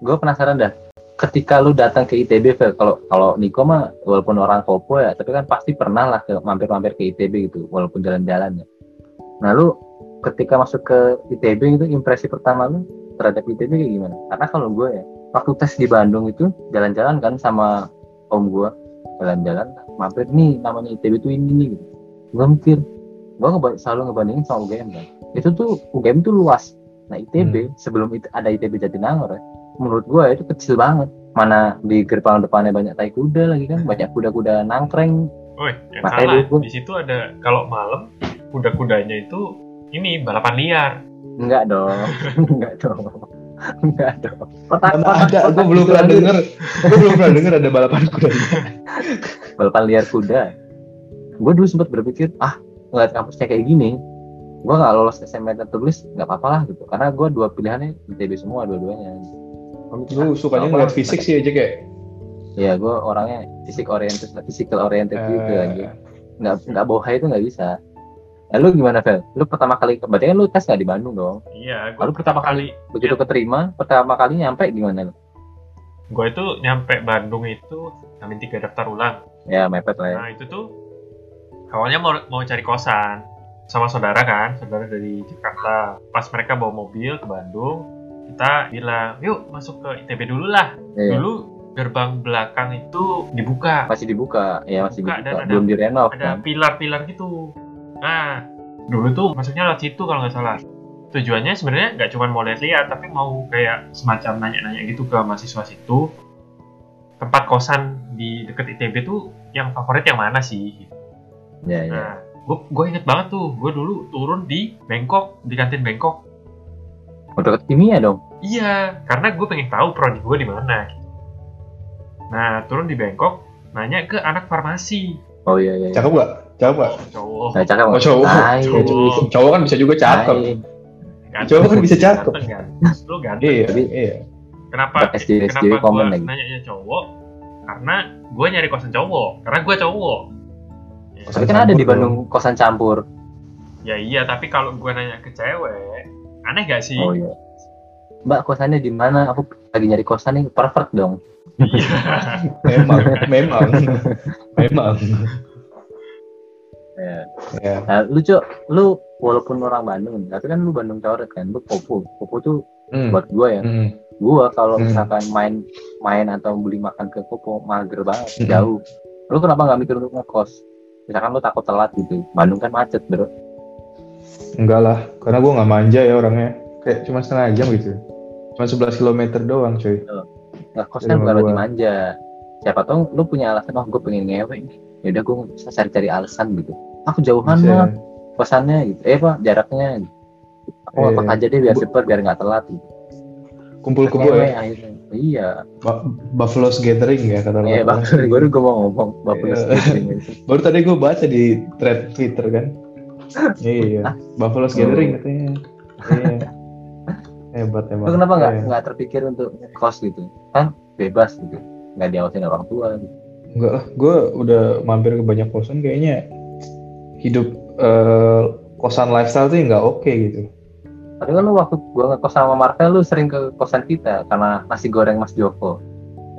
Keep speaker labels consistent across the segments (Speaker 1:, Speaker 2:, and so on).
Speaker 1: gue penasaran dah ketika lu datang ke ITB Fel, kalau kalau Niko mah walaupun orang Kopo ya tapi kan pasti pernah lah ke mampir-mampir ke ITB gitu walaupun jalan-jalan ya nah lu ketika masuk ke ITB itu gitu, impresi pertama lu terhadap ITB kayak gimana karena kalau gue ya waktu tes di Bandung itu jalan-jalan kan sama om gue jalan-jalan mampir nih namanya ITB itu ini gitu gue mikir gue ngeba- selalu ngebandingin sama UGM kan itu tuh UGM tuh luas nah ITB sebelum it- ada ITB Jatinangor ya menurut gue itu kecil banget mana di gerbang depannya banyak tai kuda lagi kan banyak kuda-kuda nangkreng
Speaker 2: Woi, Oh, iya, yang
Speaker 1: Makanya
Speaker 2: salah.
Speaker 1: dulu gua-
Speaker 2: Di situ ada kalau malam kuda-kudanya itu ini balapan liar.
Speaker 1: enggak dong enggak dong enggak dong kotak
Speaker 3: Mana ada, gue belum pernah denger Gue belum pernah denger ada balapan gitu. kuda
Speaker 1: balapan liar kuda gue dulu sempat berpikir ah ngeliat kampusnya kayak gini gue nggak lolos SMPTN tertulis nggak apa-apa lah gitu karena gue dua pilihannya ITB semua dua-duanya Gua mikir,
Speaker 3: Lu
Speaker 1: "Ah, nggak
Speaker 3: sukanya ngeliat
Speaker 1: apa-apa."
Speaker 3: fisik sih aja kayak
Speaker 1: ya gue orangnya fisik oriented physical oriented gitu
Speaker 3: eh,
Speaker 1: aja nggak nggak bohai itu nggak bisa Nah, lu gimana Fel? Lu pertama kali, berarti kan lu tes nggak di Bandung dong?
Speaker 2: Iya, gue
Speaker 1: Lalu pertama kali, begitu
Speaker 2: Iya.
Speaker 1: keterima, pertama kali nyampe gimana lu?
Speaker 2: gue itu nyampe Bandung itu hamin tiga daftar ulang.
Speaker 1: Ya mepet lah ya.
Speaker 2: Nah itu tuh awalnya mau mau cari kosan sama saudara kan, saudara dari Jakarta. Pas mereka bawa mobil ke Bandung, kita bilang, yuk masuk ke ITB dulu lah.
Speaker 1: Iya.
Speaker 2: Dulu gerbang belakang itu dibuka,
Speaker 1: Masih dibuka, ya masih dibuka.
Speaker 2: Dibuka, dan Hmm? ada-
Speaker 1: Belum direnov
Speaker 2: ada
Speaker 1: kan?
Speaker 2: pilar-pilar gitu. Nah dulu tuh masuknya lewat situ kalau nggak salah. Tujuannya sebenarnya nggak cuma mau lihat-lihat, tapi mau kayak semacam nanya-nanya gitu ke mahasiswa situ. Tempat kosan di deket ITB tuh yang favorit yang mana sih?
Speaker 1: Ya, ya.
Speaker 2: Nah, gue inget banget tuh, gue dulu turun di Bangkok, di kantin Bangkok.
Speaker 1: Udah deket kimia dong.
Speaker 2: Iya, karena gue pengen tahu prodi gue di mana. Nah, turun di Bangkok, nanya ke anak farmasi.
Speaker 1: Oh iya iya.
Speaker 3: Cakep gak? Cakep gak?
Speaker 1: Nah,
Speaker 2: Cowok.
Speaker 1: cakep
Speaker 3: Oh
Speaker 1: nggak?
Speaker 3: cowok
Speaker 1: Tai,
Speaker 2: Cowok.
Speaker 3: Cowok kan bisa juga cakep
Speaker 1: tai.
Speaker 3: Cowok kan bisa cakep
Speaker 2: Ganteng kan? Lu ganteng.
Speaker 3: Iya
Speaker 1: Tapi-
Speaker 3: iya
Speaker 2: Kenapa,
Speaker 1: SJW
Speaker 2: kenapa gue
Speaker 1: komen lagi.
Speaker 2: nanyanya cowok? Karena gue nyari kosan cowok. Karena gue cowok. Ya.
Speaker 1: Tapi kan ada di Bandung kosan campur.
Speaker 2: Ya iya, tapi kalau gue nanya ke cewek, aneh gak sih?
Speaker 1: Oh iya. Mbak kosannya di mana? Aku lagi nyari kosan nih, perfect dong.
Speaker 2: Iya.
Speaker 3: Memang Memang Memang
Speaker 1: Ya.
Speaker 3: Ya
Speaker 1: Nah, lu Cok, lu walaupun orang Bandung, tapi kan lu Bandung coret kan, lu popo. Popo tuh
Speaker 3: Hmm.
Speaker 1: buat gua ya.
Speaker 3: Hmm.
Speaker 1: Gua kalau
Speaker 3: Hmm.
Speaker 1: misalkan main main atau beli makan ke popo mager banget,
Speaker 3: Hmm.
Speaker 1: jauh. Lu kenapa nggak mikir untuk ngekos? Misalkan lu takut telat gitu. Bandung kan macet, Bro.
Speaker 3: Enggak lah, karena gue nggak manja ya orangnya. Kayak cuma setengah jam gitu. Cuma 11 km doang cuy.
Speaker 1: Nah, kos kan
Speaker 3: Iya,
Speaker 1: bukan
Speaker 3: gua.
Speaker 1: berarti manja. Siapa tahu lu punya alasan, oh gue pengen ngewe nih. Ya udah gue bisa cari-cari alasan gitu. Aku jauhan
Speaker 3: Bisa.
Speaker 1: mah kosannya gitu. Eh pak jaraknya. Gitu. Aku
Speaker 3: Iya.
Speaker 1: ngotot aja deh biar
Speaker 3: Bu-
Speaker 1: cepet biar nggak telat. Gitu.
Speaker 3: Kumpul-kumpul
Speaker 1: Ngewe
Speaker 3: ya.
Speaker 1: akhirnya. Iya.
Speaker 3: Ba- Buffalo's Gathering ya kata
Speaker 1: Iya bang,
Speaker 3: orang.
Speaker 1: baru gue mau ngomong bapak
Speaker 3: Iya.
Speaker 1: yeah.
Speaker 3: Baru tadi gue baca di thread Twitter kan. iya,
Speaker 1: Oh.
Speaker 3: Buffalo's Gathering katanya. Iya. Hebat emang.
Speaker 1: Lu kenapa nggak
Speaker 3: Iya.
Speaker 1: nggak terpikir untuk kos gitu? Kan bebas gitu, nggak diawasin orang tua. Gitu.
Speaker 3: Enggak lah, gue udah mampir ke banyak kosan kayaknya hidup eh, kosan lifestyle tuh nggak oke gitu.
Speaker 1: Tapi kan lu waktu gue ngekos sama Marvel, lu sering ke kosan kita karena nasi goreng Mas Joko.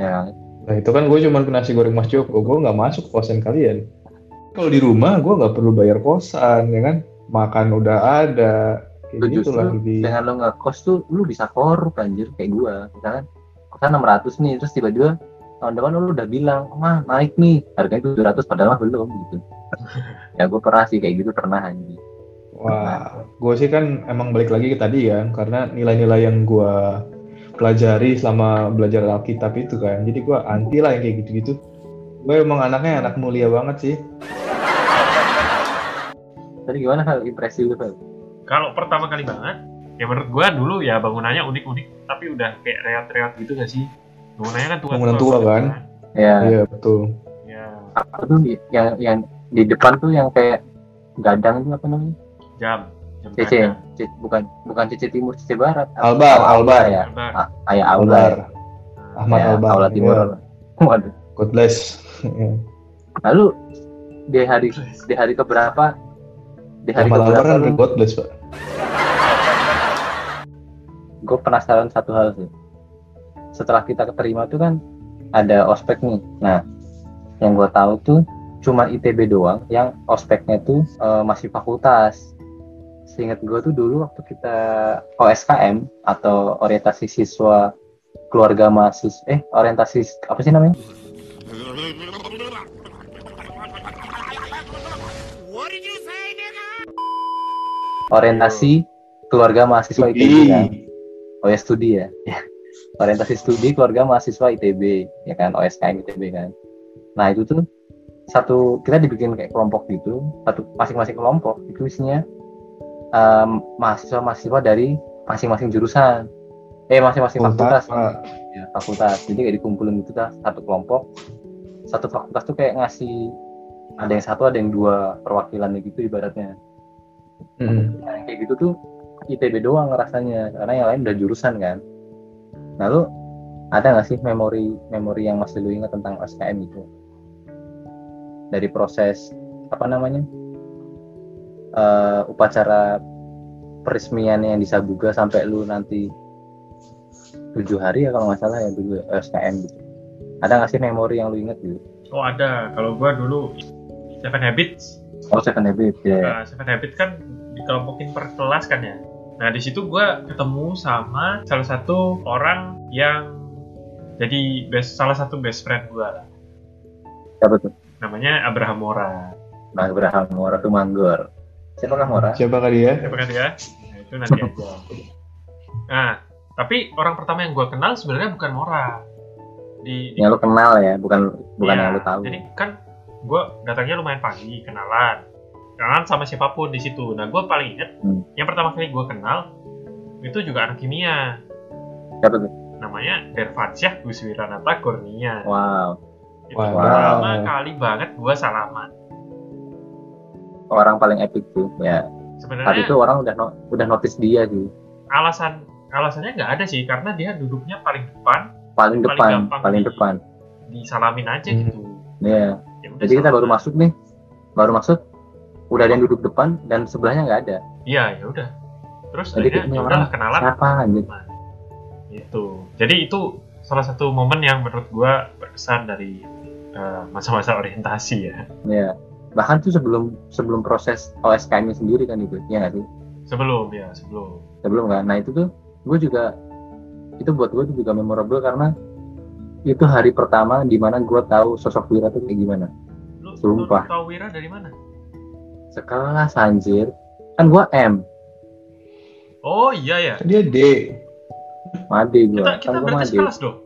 Speaker 1: Ya,
Speaker 3: Nah itu kan gue cuman ke nasi goreng Mas Joko, gue nggak masuk ke kosan kalian. Kalau di rumah gue nggak perlu bayar kosan, ya kan? Makan udah ada, kayak
Speaker 1: Lu
Speaker 3: gitu
Speaker 1: justru
Speaker 3: lah di.
Speaker 1: dengan lo ngekos tuh lu bisa korup anjir kayak gua misalkan kosan 600 nih terus tiba-tiba tahun depan lu udah bilang mah naik nih harganya 700 padahal mah belum gitu ya gua pernah sih kayak gitu pernah anjir
Speaker 3: Wah, gue sih kan emang balik lagi ke tadi kan, karena nilai-nilai yang gue pelajari selama belajar Alkitab itu kan, jadi gue anti lah yang kayak gitu-gitu. Gue emang anaknya anak mulia banget sih.
Speaker 1: tadi gimana hal impresi lu Fel?
Speaker 2: Kalau pertama kali banget, ya menurut gua dulu ya bangunannya unik-unik, tapi udah kayak reot-reot gitu gak sih? Bangunannya kan tua-tua.
Speaker 3: Bangunan tua kan?
Speaker 1: ya
Speaker 3: Iya betul.
Speaker 2: Ya,
Speaker 1: apa tuh di- yang yang di depan tuh yang kayak gadang itu apa namanya
Speaker 2: jam. Jam
Speaker 1: cece
Speaker 2: tangan.
Speaker 1: Ce- bukan bukan cece timur cece barat Apa-
Speaker 3: Albar,
Speaker 1: Aula
Speaker 3: Albar.
Speaker 1: ya
Speaker 2: Coba.
Speaker 1: Ah, ayah
Speaker 3: Albar.
Speaker 1: albar
Speaker 3: Ahmad
Speaker 1: ya,
Speaker 3: Albar.
Speaker 1: aula
Speaker 3: Iya.
Speaker 1: timur waduh
Speaker 3: God bless. Iya.
Speaker 1: lalu di hari di hari keberapa di hari
Speaker 3: Ahmad Albar
Speaker 1: keberapa
Speaker 3: kan
Speaker 1: lu-
Speaker 3: God bless pak.
Speaker 1: gue penasaran satu hal sih. setelah kita keterima tuh kan ada ospek nih. Nah, yang gue tahu tuh cuma ITB doang yang ospeknya tuh eh, masih fakultas. Seingat gue tuh dulu waktu kita OSKM atau orientasi siswa keluarga mahasiswa eh orientasi apa sih namanya?
Speaker 4: What did you say, nigga?
Speaker 1: Orientasi keluarga mahasiswa ITB. kan? Oh ya studi ya. Orientasi studi keluarga mahasiswa ITB ya kan OSKM ITB kan. Nah itu tuh satu kita dibikin kayak kelompok gitu, satu masing-masing kelompok itu isinya em, mahasiswa-mahasiswa dari masing-masing jurusan. Eh masing-masing fakultas. Ya, fakultas. Jadi kayak dikumpulin gitu dah satu kelompok. Satu fakultas tuh kayak ngasih ada yang satu ada yang dua perwakilannya gitu ibaratnya.
Speaker 3: Hmm.
Speaker 1: Nah, yang kayak gitu tuh ITB doang rasanya karena yang lain udah jurusan kan nah lu ada nggak sih memori memori yang masih lu ingat tentang SKM itu dari proses apa namanya Eh, upacara peresmian yang di Sabuga sampai lu nanti tujuh hari ya kalau nggak salah ya dulu SKM gitu ada nggak sih memori yang lu inget gitu
Speaker 2: Oh ada, kalau gua dulu Seven Habits,
Speaker 1: oh Seven Habits ya
Speaker 2: Nah, Seven Habits kan dikelompokin per kelas kan ya. Nah, di situ gua ketemu sama salah satu orang yang jadi best, salah satu best friend gua lah.
Speaker 1: siapa tuh
Speaker 2: Namanya Abraham Mora.
Speaker 1: Nah Abraham Mora tuh Manggor siapakah Mora
Speaker 3: Siapa kali ya?
Speaker 2: Terima kasih ya. Nah, Itu nanti aja. Nah, tapi orang pertama yang gua kenal sebenarnya bukan Mora. Di, di-
Speaker 1: yang lu kenal ya bukan bukan
Speaker 2: Iya,
Speaker 1: yang lu tahu
Speaker 2: Jadi kan gue datangnya lumayan pagi, kenalan. Kenalan sama siapapun di situ. Nah, gue paling inget,
Speaker 1: Hmm.
Speaker 2: yang pertama kali gue kenal, itu juga anak kimia.
Speaker 1: siapa tuh
Speaker 2: Namanya Derfatsyah Guswiranata Kurnia.
Speaker 1: wow
Speaker 2: Itu
Speaker 3: Wow.
Speaker 2: pertama kali banget gue salaman.
Speaker 1: orang paling epic tuh ya saat
Speaker 2: Sebenarnya
Speaker 1: itu orang udah no- udah notice dia sih
Speaker 2: alasan alasannya nggak ada sih, karena dia duduknya paling depan,
Speaker 1: paling
Speaker 2: Paling
Speaker 1: depan
Speaker 2: gampang
Speaker 1: paling
Speaker 2: di-
Speaker 1: depan
Speaker 2: disalamin aja
Speaker 3: Hmm.
Speaker 2: gitu.
Speaker 1: ya
Speaker 2: Ya udah,
Speaker 1: jadi kita baru
Speaker 2: salaman.
Speaker 1: masuk nih baru masuk udah ada yang duduk depan dan sebelahnya nggak ada
Speaker 2: Iya, ya udah. Terus
Speaker 1: jadi
Speaker 2: akhirnya
Speaker 1: kita
Speaker 2: ya udahlah kenalan
Speaker 1: siapa anjir
Speaker 2: gitu jadi itu salah satu momen yang menurut gua berkesan dari eh, masa-masa orientasi ya
Speaker 1: ya bahkan tuh sebelum sebelum proses OSKM -nya sendiri kan itu ya nggak sih
Speaker 2: sebelum ya sebelum
Speaker 1: sebelum kan nah itu tuh gue juga itu buat gue juga memorable karena itu hari pertama di mana gue tahu sosok Wira tuh kayak gimana
Speaker 2: lu, lu
Speaker 1: Sumpah.
Speaker 2: tau Wira dari mana
Speaker 1: sekelas anjir kan gue M
Speaker 2: oh iya ya
Speaker 3: Kan Dia D.
Speaker 1: Made gue
Speaker 2: kita
Speaker 1: kan
Speaker 2: kita
Speaker 1: gue
Speaker 2: berarti
Speaker 1: Made
Speaker 2: sekelas dong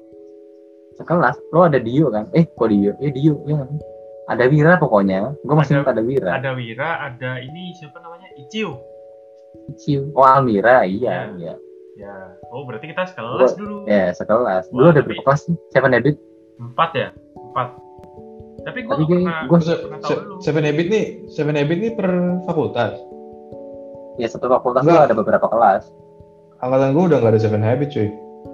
Speaker 1: sekelas lo ada Dio kan eh kok Dio eh Dio ya nggak sih? ada Wira pokoknya gue masih
Speaker 2: Ada-
Speaker 1: ingat ada Wira
Speaker 2: ada Wira ada ini siapa namanya Iciu
Speaker 1: Ciu oh Almira iya iya
Speaker 2: ya oh berarti kita sekelas dulu
Speaker 1: ya sekelas dulu
Speaker 2: Wah,
Speaker 1: ada
Speaker 2: tapi-
Speaker 1: berapa kelas sih Seven Habit
Speaker 2: empat ya empat tapi gua
Speaker 1: tapi
Speaker 2: nggak
Speaker 1: gue
Speaker 2: pernah
Speaker 1: gue
Speaker 3: Se-
Speaker 2: pernah tahu
Speaker 3: se-
Speaker 2: lu
Speaker 3: Seven Habit nih, Seven Habit nih per fakultas.
Speaker 1: ya satu fakultas tuh
Speaker 3: Enggak.
Speaker 1: ada beberapa kelas
Speaker 3: Angkatan gue udah nggak ada Seven Habit cuy.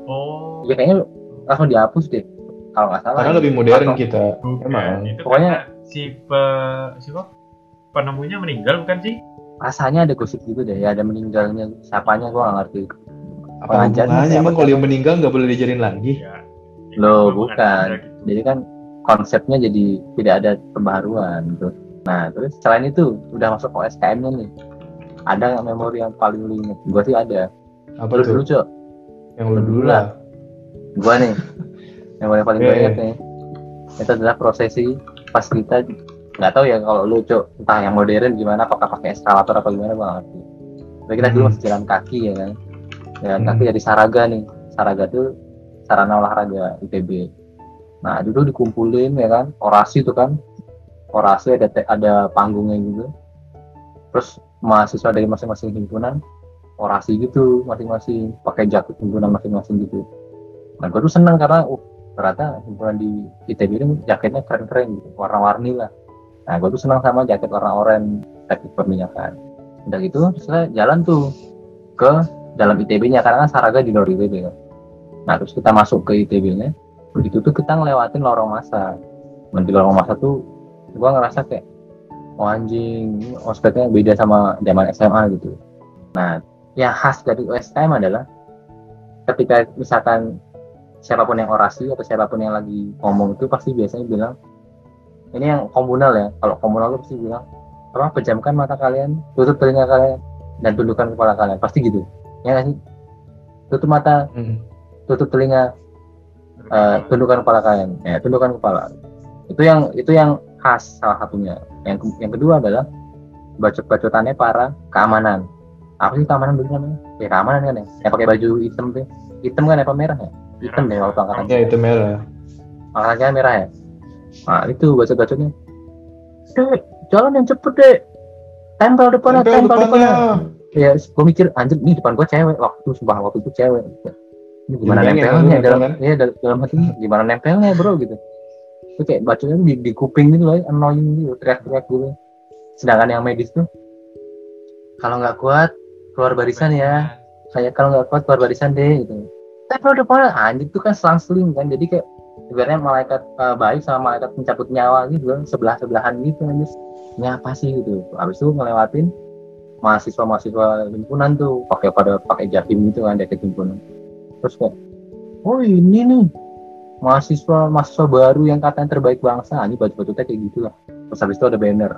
Speaker 2: oh
Speaker 1: ya kayaknya langsung dihapus deh kalau nggak salah
Speaker 3: Karena lebih modern gitu.
Speaker 1: Atau-
Speaker 3: kita.
Speaker 2: bukan
Speaker 3: Emang.
Speaker 2: Ya, itu
Speaker 1: kan? Pokoknya-
Speaker 2: karena si pe, siapa penemunya meninggal bukan sih
Speaker 1: rasanya ada gosip gitu deh ya ada meninggalnya siapanya gue nggak ngerti
Speaker 3: Apa
Speaker 1: Pengajarnya
Speaker 3: hubungannya
Speaker 1: siapa?
Speaker 3: emang kalau yang meninggal nggak boleh diajarin lagi?
Speaker 2: ya ya,
Speaker 1: Loh,
Speaker 2: gua
Speaker 1: bukan.
Speaker 2: ada gitu.
Speaker 1: jadi kan konsepnya jadi tidak ada pembaruan gitu. Nah terus selain itu udah masuk OSKM nya nih ada nggak memori yang paling lu inget? Gue sih ada.
Speaker 3: Apa
Speaker 1: Terus dulu
Speaker 3: tuh?
Speaker 1: cok,
Speaker 3: Yang lu dulu lah.
Speaker 1: gue nih memori yang paling
Speaker 3: Iya,
Speaker 1: gue inget nih. Itu adalah prosesi pas kita nggak tahu ya kalau lu cok entah yang modern gimana apakah pakai eskalator apa gimana gue nggak ngerti. Tapi kita dulu
Speaker 3: Hmm.
Speaker 1: masih jalan kaki ya kan. Jalan
Speaker 3: Hmm.
Speaker 1: kaki dari Saraga nih. Saraga tuh sarana olahraga ITB. Nah dulu dikumpulin ya kan orasi tuh kan orasi ada te- ada panggungnya gitu. Terus mahasiswa dari masing-masing himpunan orasi gitu masing-masing pakai jaket himpunan masing-masing gitu. Nah gue tuh seneng karena uh, ternyata himpunan di ITB ini jaketnya keren-keren gitu, warna-warni lah. Nah gue tuh seneng sama jaket warna oranye teknik perminyakan. Udah gitu terus saya jalan tuh ke dalam ITB-nya karena kan Saraga di luar ITB kan. Nah terus kita masuk ke ITB-nya, begitu tuh kita ngelewatin lorong masa. Nah, di lorong masa tuh gua ngerasa kayak oh anjing ini ospeknya beda sama zaman SMA gitu. Nah yang khas dari USM adalah ketika misalkan siapapun yang orasi atau siapapun yang lagi ngomong itu pasti biasanya bilang ini yang komunal ya kalau komunal itu pasti bilang tolong pejamkan mata kalian tutup telinga kalian dan tundukkan kepala kalian pasti gitu ya nggak sih tutup mata
Speaker 3: Hmm.
Speaker 1: tutup telinga eh, tundukkan kepala kalian ya tundukkan kepala itu yang itu yang khas salah satunya yang ke- yang kedua adalah bacot-bacotannya para keamanan apa sih keamanan dulu namanya ya keamanan kan ya yang pakai baju hitam tuh hitam kan apa merah ya hitam deh kalau pangkatan
Speaker 3: Ya itu merah.
Speaker 1: Makanya merah ya. Nah, itu bacot-bacotnya. Dek, jalan yang cepet, Dek. Tempel depannya, tempel, depannya. Ya, gue mikir, anjir, ini depan gue cewek. Waktu itu, sumpah, waktu itu cewek. Ini gimana
Speaker 3: Bayangin,
Speaker 1: nempelnya?
Speaker 3: kan?
Speaker 1: dalam,
Speaker 3: Kan?
Speaker 1: iya, dal- dalam hati, ini gimana nempelnya, bro, gitu. Itu kayak bacotnya di, di kuping gitu loh, annoying gitu, teriak-teriak gitu. Sedangkan yang medis tuh, kalau nggak kuat, keluar barisan ya kayak kalau nggak kuat keluar barisan deh gitu tapi udah depan anjing tuh kan selang seling kan jadi kayak sebenarnya malaikat eh, baik sama malaikat pencabut nyawa gitu kan sebelah sebelahan gitu kan terus ini apa sih gitu habis itu ngelewatin mahasiswa mahasiswa himpunan tuh pakai pada pakai jatim gitu kan dari himpunan terus kayak oh ini nih mahasiswa mahasiswa baru yang katanya terbaik bangsa ini baju bajunya kayak gitu lah terus habis itu ada banner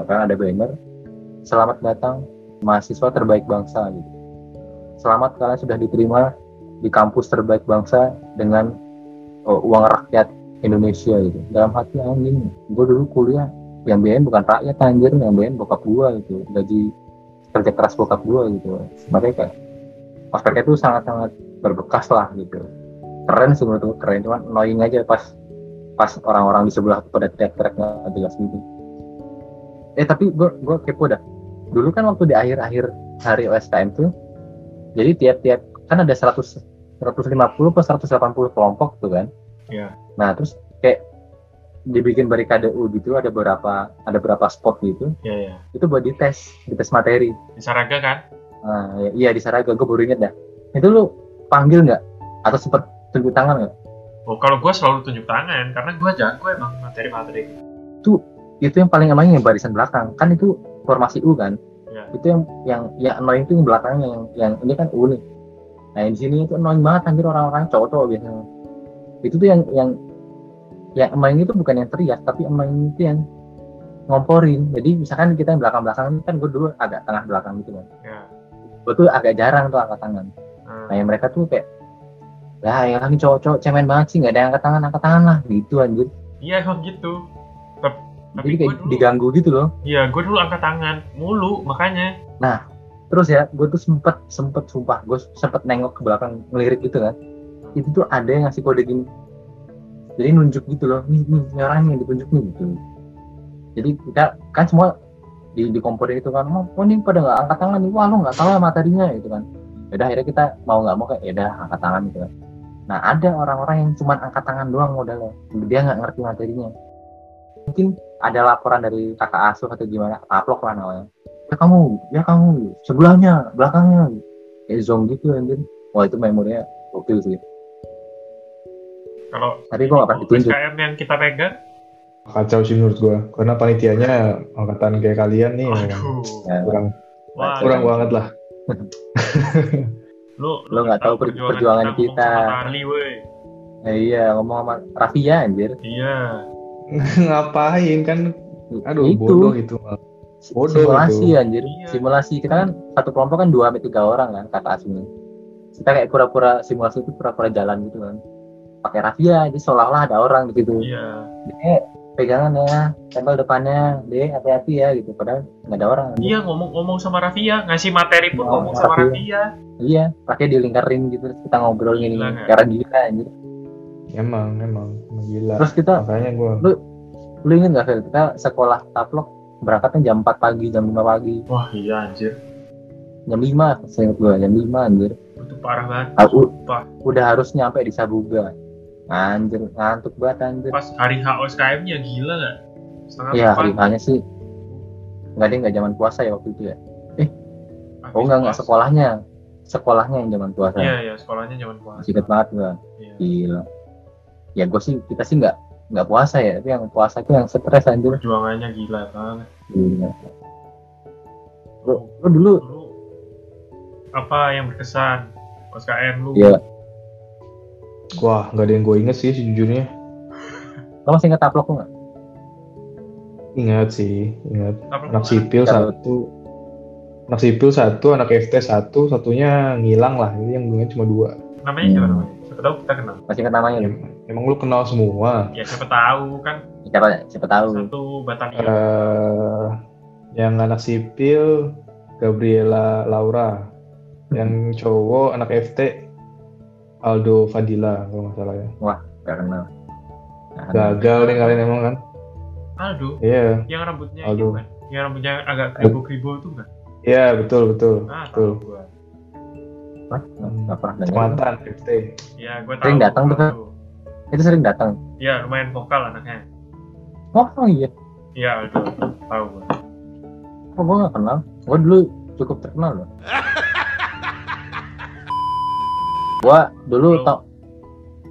Speaker 1: ya, kan ada banner selamat datang mahasiswa terbaik bangsa gitu selamat kalian sudah diterima di kampus terbaik bangsa dengan uh, uang rakyat Indonesia gitu. Dalam hati anjing, gue dulu kuliah yang biayain bukan rakyat anjir, yang biayain bokap gua gitu. Gaji kerja keras bokap gua gitu. Makanya kayak ospeknya itu sangat-sangat berbekas lah gitu. Keren sih menurut gua, keren cuman annoying aja pas pas orang-orang di sebelah pada teriak-teriak nggak jelas gitu. Eh tapi gue gue kepo dah. Dulu kan waktu di akhir-akhir hari OSKM tuh jadi tiap-tiap kan ada 100 150 atau 180 kelompok tuh kan
Speaker 2: Iya.
Speaker 1: nah terus kayak dibikin barikade U gitu ada berapa ada berapa spot gitu
Speaker 2: ya ya
Speaker 1: itu buat dites dites materi
Speaker 2: di Saraga kan
Speaker 1: nah, ya- iya di Saraga gue baru inget dah itu lu panggil nggak atau sempet tunjuk tangan nggak
Speaker 2: oh kalau gue selalu tunjuk tangan karena gue jago emang materi-materi gitu.
Speaker 1: itu yang paling emangnya yang barisan belakang kan itu formasi U kan
Speaker 2: Iya.
Speaker 1: itu yang yang yang annoying itu yang belakangnya yang, yang ini kan U nih nah yang di sini itu annoying banget anjir orang-orang cowok-cowok biasanya itu tuh yang yang yang annoying itu bukan yang teriak tapi annoying itu yang ngomporin jadi misalkan kita yang belakang-belakang kan gue dulu agak tengah belakang gitu kan
Speaker 2: ya
Speaker 1: gue tuh agak jarang tuh angkat tangan
Speaker 2: Hmm.
Speaker 1: Nah yang mereka tuh kayak lah yang lagi cowok-cowok cemen banget sih nggak ada yang angkat tangan angkat tangan lah gitu anjir
Speaker 2: iya emang gitu Tep-
Speaker 1: jadi
Speaker 2: tapi gue
Speaker 1: kayak
Speaker 2: dulu
Speaker 1: diganggu gitu loh
Speaker 2: iya gue dulu angkat tangan mulu makanya
Speaker 1: terus ya gue tuh sempet sempet sumpah gue sempet nengok ke belakang ngelirik gitu kan itu tuh ada yang ngasih kode gini jadi nunjuk gitu loh nih nih ini orang yang ditunjuk nih gitu jadi kita kan semua di di komponen itu kan mau oh, ini pada nggak angkat tangan nih wah lu nggak tahu ya materinya gitu kan Yaudah akhirnya kita mau nggak mau kayak yaudah angkat tangan gitu kan nah ada orang-orang yang cuman angkat tangan doang modalnya dia nggak ngerti materinya mungkin ada laporan dari kakak asuh atau gimana aplok lah namanya ya kamu ya kamu sebelahnya belakangnya kayak zong gitu anjir wah itu memorinya gokil sih
Speaker 2: kalau
Speaker 1: tapi gue gak pernah ditunjuk
Speaker 2: SKM yang kita pegang
Speaker 3: Kacau sih menurut gua. Karena panitianya angkatan kayak kalian nih
Speaker 2: aduh
Speaker 1: Ya,
Speaker 3: kurang
Speaker 2: wah
Speaker 1: Iya.
Speaker 3: kurang banget lah.
Speaker 2: lu
Speaker 1: Lu nggak tahu per- perjuangan kita.
Speaker 2: ngomong sama Tarli, woi.
Speaker 1: ya iya ngomong sama Rafia anjir
Speaker 2: iya
Speaker 3: Ngapain kan? Aduh
Speaker 1: itu
Speaker 3: bodoh gitu.
Speaker 1: si-
Speaker 3: bodoh
Speaker 1: simulasi
Speaker 3: itu.
Speaker 1: anjir
Speaker 2: Iya.
Speaker 1: simulasi kita kan satu kelompok kan dua sampai tiga orang kan kakak asuhnya kita kayak pura-pura simulasi itu pura-pura jalan gitu kan pakai rafia jadi seolah-olah ada orang gitu
Speaker 2: iya
Speaker 1: Dek, pegangan ya tempel depannya deh hati-hati ya gitu padahal nggak ada orang
Speaker 2: iya ngomong-ngomong sama Rafia ngasih materi pun
Speaker 1: Oh,
Speaker 2: ngomong sama
Speaker 1: Rafia.
Speaker 2: Rafia
Speaker 1: iya pakai dilingkarin gitu terus kita ngobrol gini
Speaker 2: Gila,
Speaker 3: Iya.
Speaker 2: kan?
Speaker 1: cara gila anjir
Speaker 3: Emang emang Emang gila.
Speaker 1: terus kita
Speaker 3: Makanya gua
Speaker 1: lu inget gak Fel? Kita sekolah taplok berangkatnya jam 4 pagi, jam 5 pagi,
Speaker 2: wah iya anjir
Speaker 1: jam 5, seinget gua, jam 5 anjir.
Speaker 2: itu parah banget
Speaker 1: Aku
Speaker 2: Wah.
Speaker 1: udah harus nyampe di Sabuga. Anjir, ngantuk banget anjir.
Speaker 2: pas hari HOSKM nya gila nggak setengah
Speaker 1: Iya,
Speaker 2: empat,
Speaker 1: hanya sih nggak ada nggak zaman puasa ya waktu itu ya.
Speaker 2: habis
Speaker 1: Oh nggak nggak
Speaker 2: puasa.
Speaker 1: sekolahnya, sekolahnya yang zaman puasa.
Speaker 2: iya iya sekolahnya zaman puasa
Speaker 1: Masih inget banget gua.
Speaker 2: Iya.
Speaker 1: Gila. Ya gue sih kita sih nggak nggak puasa ya, tapi yang puasa itu yang stres anjir.
Speaker 2: perjuangannya gila banget
Speaker 1: Gila. Lu, lu dulu
Speaker 2: lu apa yang berkesan OSKM lu
Speaker 1: Iya.
Speaker 3: Wah, nggak ada yang gue inget sih sejujurnya.
Speaker 1: Lo masih ingat taplok nggak?
Speaker 3: Ingat sih, ingat.
Speaker 2: Taplok
Speaker 3: Anak
Speaker 2: mana?
Speaker 3: sipil
Speaker 1: Ya.
Speaker 3: satu, anak sipil satu, anak FT satu, satunya ngilang lah. Ini yang gue ingat cuma dua.
Speaker 2: Namanya siapa
Speaker 1: Hmm.
Speaker 2: namanya? Siapa tahu kita kenal.
Speaker 1: Masih ingat namanya?
Speaker 3: Em- Emang lu kenal semua?
Speaker 2: Ya siapa tahu kan
Speaker 1: Siapa siapa tahu? Iya.
Speaker 2: satu batalion.
Speaker 3: eh yang anak sipil Gabriela Laura, yang cowok anak FT Aldo Fadila kalau nggak salah ya.
Speaker 1: Gak kenal. Nah,
Speaker 3: Gagal nih kalian emang kan?
Speaker 2: Aldo
Speaker 3: Iya,
Speaker 2: yang rambutnya
Speaker 3: Aldo.
Speaker 2: itu kan. Yang rambutnya agak kribo-kribo itu enggak?
Speaker 3: iya betul betul
Speaker 2: Ah,
Speaker 3: betul.
Speaker 2: tahu gua.
Speaker 1: Hah? Nggak pernah dengar.
Speaker 3: Kecamatan FT.
Speaker 2: Ya, gua tahu.
Speaker 1: Sering datang tuh, kan?
Speaker 2: Aldo.
Speaker 1: Itu sering datang.
Speaker 2: Ya, lumayan vokal anaknya.
Speaker 1: Oh, oh iya.
Speaker 2: Iya, Aldo. Tahu gua.
Speaker 1: Oh, gue gak kenal. Gue dulu cukup terkenal loh. gue dulu
Speaker 2: Belum.
Speaker 1: tau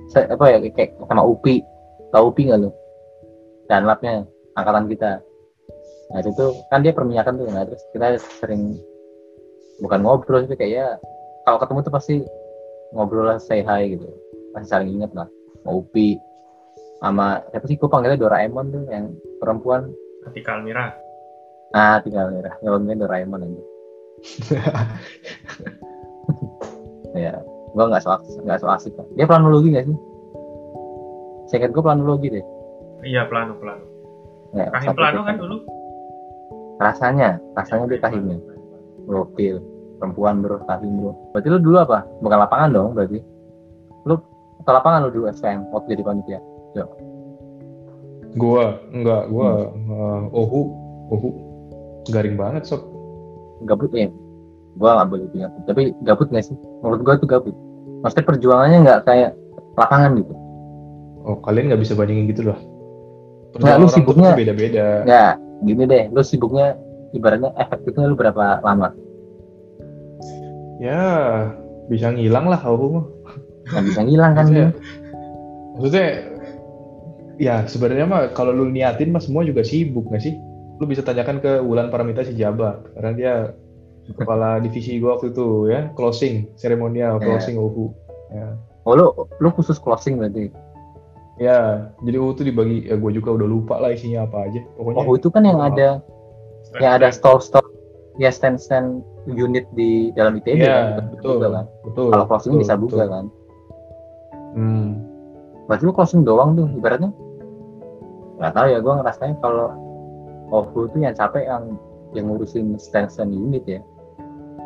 Speaker 1: saya, apa ya kayak sama Upi. Tahu Upi nggak lo? Dunlapnya angkatan kita. Nah itu tuh kan dia perminyakan tuh, nah terus kita sering bukan ngobrol tapi kayak ya kalau ketemu tuh pasti ngobrol lah, say hi gitu, masih saling inget lah. Sama Upi, sama siapa sih gue panggilnya Doraemon tuh yang perempuan
Speaker 2: Ketika Almira.
Speaker 1: Ah, tinggal merah. Kalau mungkin Doraemon aja. ya, gua nggak so asik, nggak so asik. kok. Dia planologi nggak sih? Saya ingat gua planologi deh.
Speaker 2: Iya, Plano, Plano.
Speaker 1: Ya,
Speaker 2: Kahim
Speaker 1: satu
Speaker 2: Plano
Speaker 1: desa.
Speaker 2: kan dulu.
Speaker 1: Rasanya, rasanya dia ya. kahimnya. Gokil. Perempuan bro, kahim bro. Berarti lu dulu apa? Bukan lapangan dong berarti. Lu ke lapangan lu dulu SPM waktu jadi panitia.
Speaker 3: Gua enggak, gua
Speaker 1: Hmm.
Speaker 3: eh, ohu, ohu. Garing banget sob.
Speaker 1: Gabut ya? Gua nggak boleh bilang. gabut. Tapi gabut nggak sih? Menurut gua itu gabut. Maksudnya perjuangannya nggak kayak lapangan gitu.
Speaker 3: Oh, kalian nggak bisa bandingin gitu loh.
Speaker 1: Nggak, Nah, lu
Speaker 3: Perjalanan orang tuh
Speaker 1: sibuknya-
Speaker 3: beda-beda.
Speaker 1: Ya, gini deh, lu sibuknya ibaratnya efektifnya lu berapa lama?
Speaker 3: Ya, bisa ngilang lah ohu mah.
Speaker 1: Nggak bisa ngilang kan?
Speaker 3: Maksudnya, maksudnya ya sebenarnya mah kalau lu niatin mah semua juga sibuk nggak sih? Lu bisa tanyakan ke Wulan Paramita Sijabat karena dia kepala divisi gua waktu itu ya closing
Speaker 1: Ya.
Speaker 3: seremonial closing UHU.
Speaker 1: Oh, lu, lu khusus closing berarti.
Speaker 3: Ya, jadi UHU tuh dibagi ya gua juga udah lupa lah isinya apa aja. Pokoknya
Speaker 1: Oh, itu kan yang ada
Speaker 3: Oh,
Speaker 1: yang ada stall-stall ya stand-stand unit di dalam ITB
Speaker 3: Iya,
Speaker 1: kan?
Speaker 3: betul.
Speaker 1: Buka kan?
Speaker 3: betul.
Speaker 1: Kalau closing
Speaker 3: betul,
Speaker 1: bisa
Speaker 3: betul.
Speaker 1: buka kan?
Speaker 3: Hmm.
Speaker 1: Berarti lu closing doang tuh ibaratnya. Nggak tahu ya, gua ngerasain kalau Ovu tuh yang capek yang yang ngurusin stand-stand unit ya.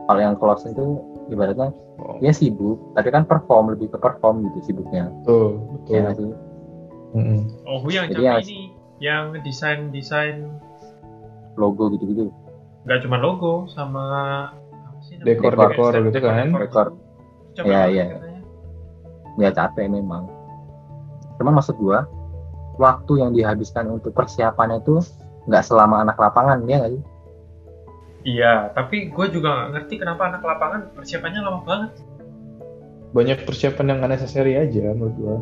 Speaker 1: Kalau yang closing tuh ibaratnya
Speaker 3: Oh,
Speaker 1: ya sibuk, tapi kan perform lebih ke perform gitu sibuknya.
Speaker 3: betul, betul. Hmm.
Speaker 1: Ya nggak sih?
Speaker 3: Mm-mm.
Speaker 2: Oh, yang
Speaker 1: Jadi
Speaker 2: capek
Speaker 1: yang-
Speaker 2: ini. Yang desain-desain
Speaker 1: Logo gitu-gitu.
Speaker 2: nggak cuma logo sama apa sih namanya?
Speaker 3: Dekor-
Speaker 1: dekor
Speaker 2: Desain-
Speaker 3: gitu kan?
Speaker 2: dekor-dekor
Speaker 1: Dekor.
Speaker 2: gitu. Capek
Speaker 1: Iya,
Speaker 2: banget
Speaker 1: iya.
Speaker 2: katanya.
Speaker 1: ya capek memang cuman maksud gua waktu yang dihabiskan untuk persiapannya itu nggak selama anak lapangan ya nggak sih
Speaker 2: Iya, tapi gue juga nggak ngerti kenapa anak lapangan persiapannya lama banget.
Speaker 3: Banyak persiapan yang unnecessary aja menurut gua.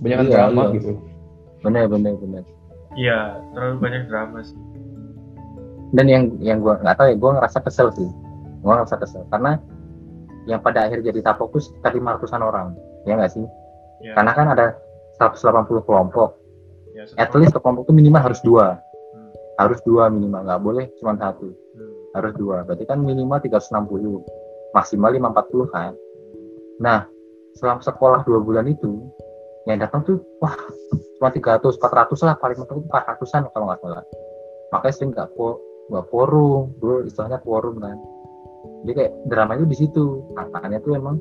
Speaker 3: Kebanyakan
Speaker 1: Iya,
Speaker 3: drama
Speaker 1: iya.
Speaker 3: gitu.
Speaker 1: bener bener bener
Speaker 2: Iya, terlalu banyak drama sih.
Speaker 1: dan yang yang gua nggak tahu ya gua ngerasa kesel sih gua ngerasa kesel karena yang pada akhir jadi tak fokus sekitar 500-an orang ya nggak sih
Speaker 2: Iya.
Speaker 1: karena kan ada 180 kelompok
Speaker 2: Ya, setelah-
Speaker 1: at least kelompok itu minimal harus dua
Speaker 2: Hmm.
Speaker 1: harus dua minimal nggak boleh cuma satu
Speaker 2: Hmm.
Speaker 1: harus dua berarti kan minimal 360 maksimal 540 kan nah selama sekolah dua bulan itu yang datang tuh wah cuma 300 400 lah paling mentok itu 400an kalau nggak salah makanya sering nggak po nggak forum dulu istilahnya forum kan jadi kayak drama itu di situ katanya tuh emang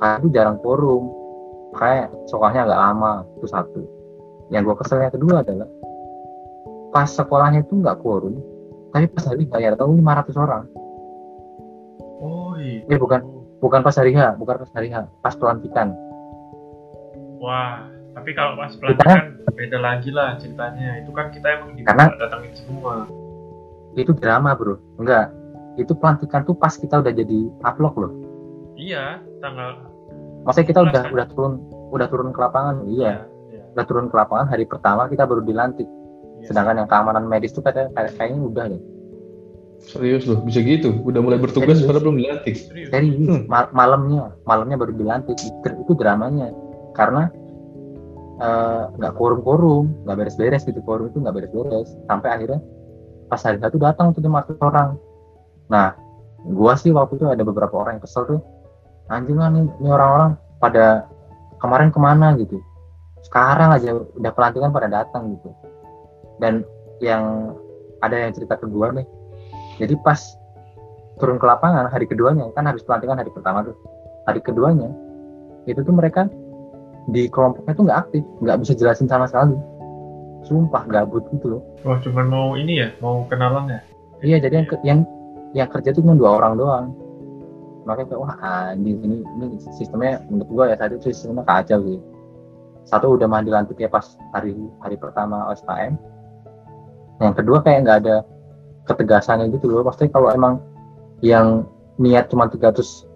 Speaker 1: karena itu jarang forum kayak sekolahnya agak lama itu satu yang gue kesel yang kedua adalah pas sekolahnya itu nggak forum tapi pas hari bayar tahu 500 orang
Speaker 2: Oh, iya.
Speaker 1: Eh, bukan. bukan pas hari H bukan pas hari H pas pelantikan
Speaker 2: Wah, tapi kalau pas pelantikan beda lagi lah ceritanya. Itu kan kita emang di
Speaker 1: kan Karena-
Speaker 2: datangin semua.
Speaker 1: itu drama bro enggak itu pelantikan tuh pas kita udah jadi upload loh
Speaker 2: Iya, tanggal.
Speaker 1: maksudnya kita udah
Speaker 2: 15 kan?
Speaker 1: udah turun udah turun ke lapangan iya
Speaker 2: Iya.
Speaker 1: udah turun ke lapangan hari pertama kita baru dilantik
Speaker 2: Iya.
Speaker 1: sedangkan yang keamanan medis tuh katanya kayak- kayaknya udah deh
Speaker 3: Serius loh, bisa gitu. Udah mulai bertugas
Speaker 1: Serius.
Speaker 3: padahal belum dilantik.
Speaker 2: Serius.
Speaker 1: serius
Speaker 3: Hmm.
Speaker 1: mal- malamnya malamnya baru dilantik itu, itu dramanya karena eh, nggak quorum-quorum nggak beres-beres gitu quorum itu nggak beres-beres sampai akhirnya pas hari satu datang tuh lima orang nah gua sih waktu itu ada beberapa orang yang kesel tuh anjing lah nih, nih orang-orang pada kemarin kemana gitu sekarang aja udah pelantikan pada datang gitu dan yang ada yang cerita kedua nih jadi pas turun ke lapangan hari keduanya kan habis pelantikan hari pertama tuh hari keduanya itu tuh mereka di kelompoknya tuh nggak aktif nggak bisa jelasin sama sekali sumpah gabut gitu loh
Speaker 2: Wah, cuman mau ini ya, mau kenalan ya.
Speaker 1: iya jadi yang ke- yang yang kerja tuh cuma dua orang doang makanya kayak wah anjing ini ini sistemnya menurut gua ya tadi itu sistemnya kacau sih satu udah mandi lantik ya pas hari hari pertama OSKM yang kedua kayak nggak ada ketegasannya gitu loh pasti kalau emang yang niat cuma 300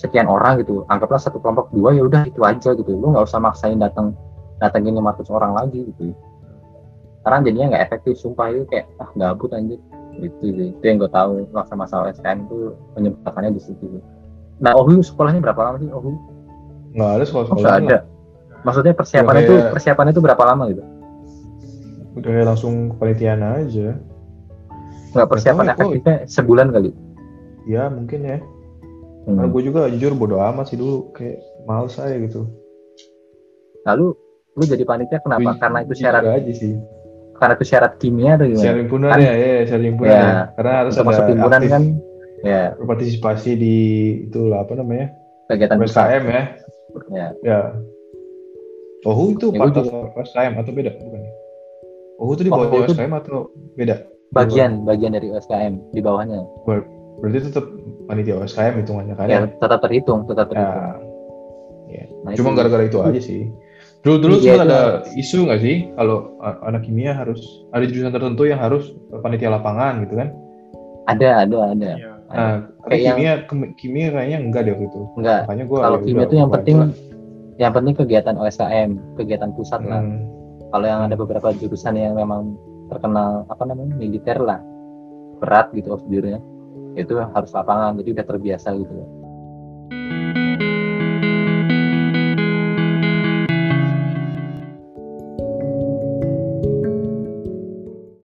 Speaker 1: sekian orang gitu anggaplah satu kelompok dua ya udah itu aja gitu lu nggak usah maksain datang datangin 500 orang lagi gitu karena jadinya nggak efektif sumpah itu kayak ah gabut anjir gitu sih itu yang gue tahu masa masa SKM itu penyebabkannya di situ nah Ohu sekolahnya berapa lama sih Ohu
Speaker 3: nggak ada sekolah sekolah
Speaker 1: Masa ada maksudnya persiapannya
Speaker 3: Ya,
Speaker 1: itu
Speaker 3: kayak-
Speaker 1: persiapannya itu berapa lama gitu
Speaker 3: udah kayak langsung kepanitiaan aja
Speaker 1: nggak persiapan
Speaker 3: tahu ya, Boy.
Speaker 1: efektifnya sebulan kali
Speaker 3: ya mungkin ya
Speaker 1: Hmm.
Speaker 3: karena gue juga jujur bodo amat sih dulu kayak males aja gitu
Speaker 1: lalu lu jadi panitia kenapa
Speaker 3: Gua
Speaker 1: karena itu
Speaker 3: jujur
Speaker 1: syarat
Speaker 3: aja sih
Speaker 1: karena itu syarat kimia atau gimana
Speaker 3: Share himpunan
Speaker 1: Kan-
Speaker 3: ya, ya, share himpunan
Speaker 1: Ya,
Speaker 3: ya. Karena harus
Speaker 1: untuk masuk
Speaker 3: ada
Speaker 1: himpunan
Speaker 3: aktif
Speaker 1: kan ya
Speaker 3: berpartisipasi di itulah apa namanya?
Speaker 1: kegiatan besar
Speaker 3: PSKM ya.
Speaker 1: ya
Speaker 3: Ya. Ohu itu
Speaker 1: Ya,
Speaker 3: part
Speaker 1: gua
Speaker 3: of PSKM atau beda bukan? ya? Ohu itu di bawah
Speaker 1: Ohu itu-
Speaker 3: PSKM atau beda?
Speaker 1: bagian bagian dari USKM di bawahnya
Speaker 3: Berarti tetap panitia PSKM hitungannya kan. Ya.
Speaker 1: ya tetap terhitung tetap terhitung Nah,
Speaker 3: Cuma
Speaker 1: itu-
Speaker 3: gara-gara itu aja sih. Dulu dulu
Speaker 1: Iya,
Speaker 3: sempat
Speaker 1: itu-
Speaker 3: ada isu nggak sih kalau a- anak kimia harus ada jurusan tertentu yang harus panitia lapangan gitu kan?
Speaker 1: ada ada ada
Speaker 2: Iya.
Speaker 1: Ada.
Speaker 3: Nah, tapi
Speaker 1: Kayak yang-
Speaker 3: kimia kem- kimia kayaknya enggak deh waktu itu.
Speaker 1: enggak
Speaker 3: Makanya gua
Speaker 1: kalau
Speaker 3: ya
Speaker 1: kimia
Speaker 3: udah,
Speaker 1: itu yang
Speaker 3: gua
Speaker 1: penting
Speaker 3: aja lah.
Speaker 1: yang penting kegiatan OSKM kegiatan pusat lah
Speaker 3: Hmm.
Speaker 1: kalau yang ada beberapa jurusan yang memang terkenal apa namanya militer lah berat gitu prosedurnya itu harus lapangan jadi udah terbiasa gitu loh.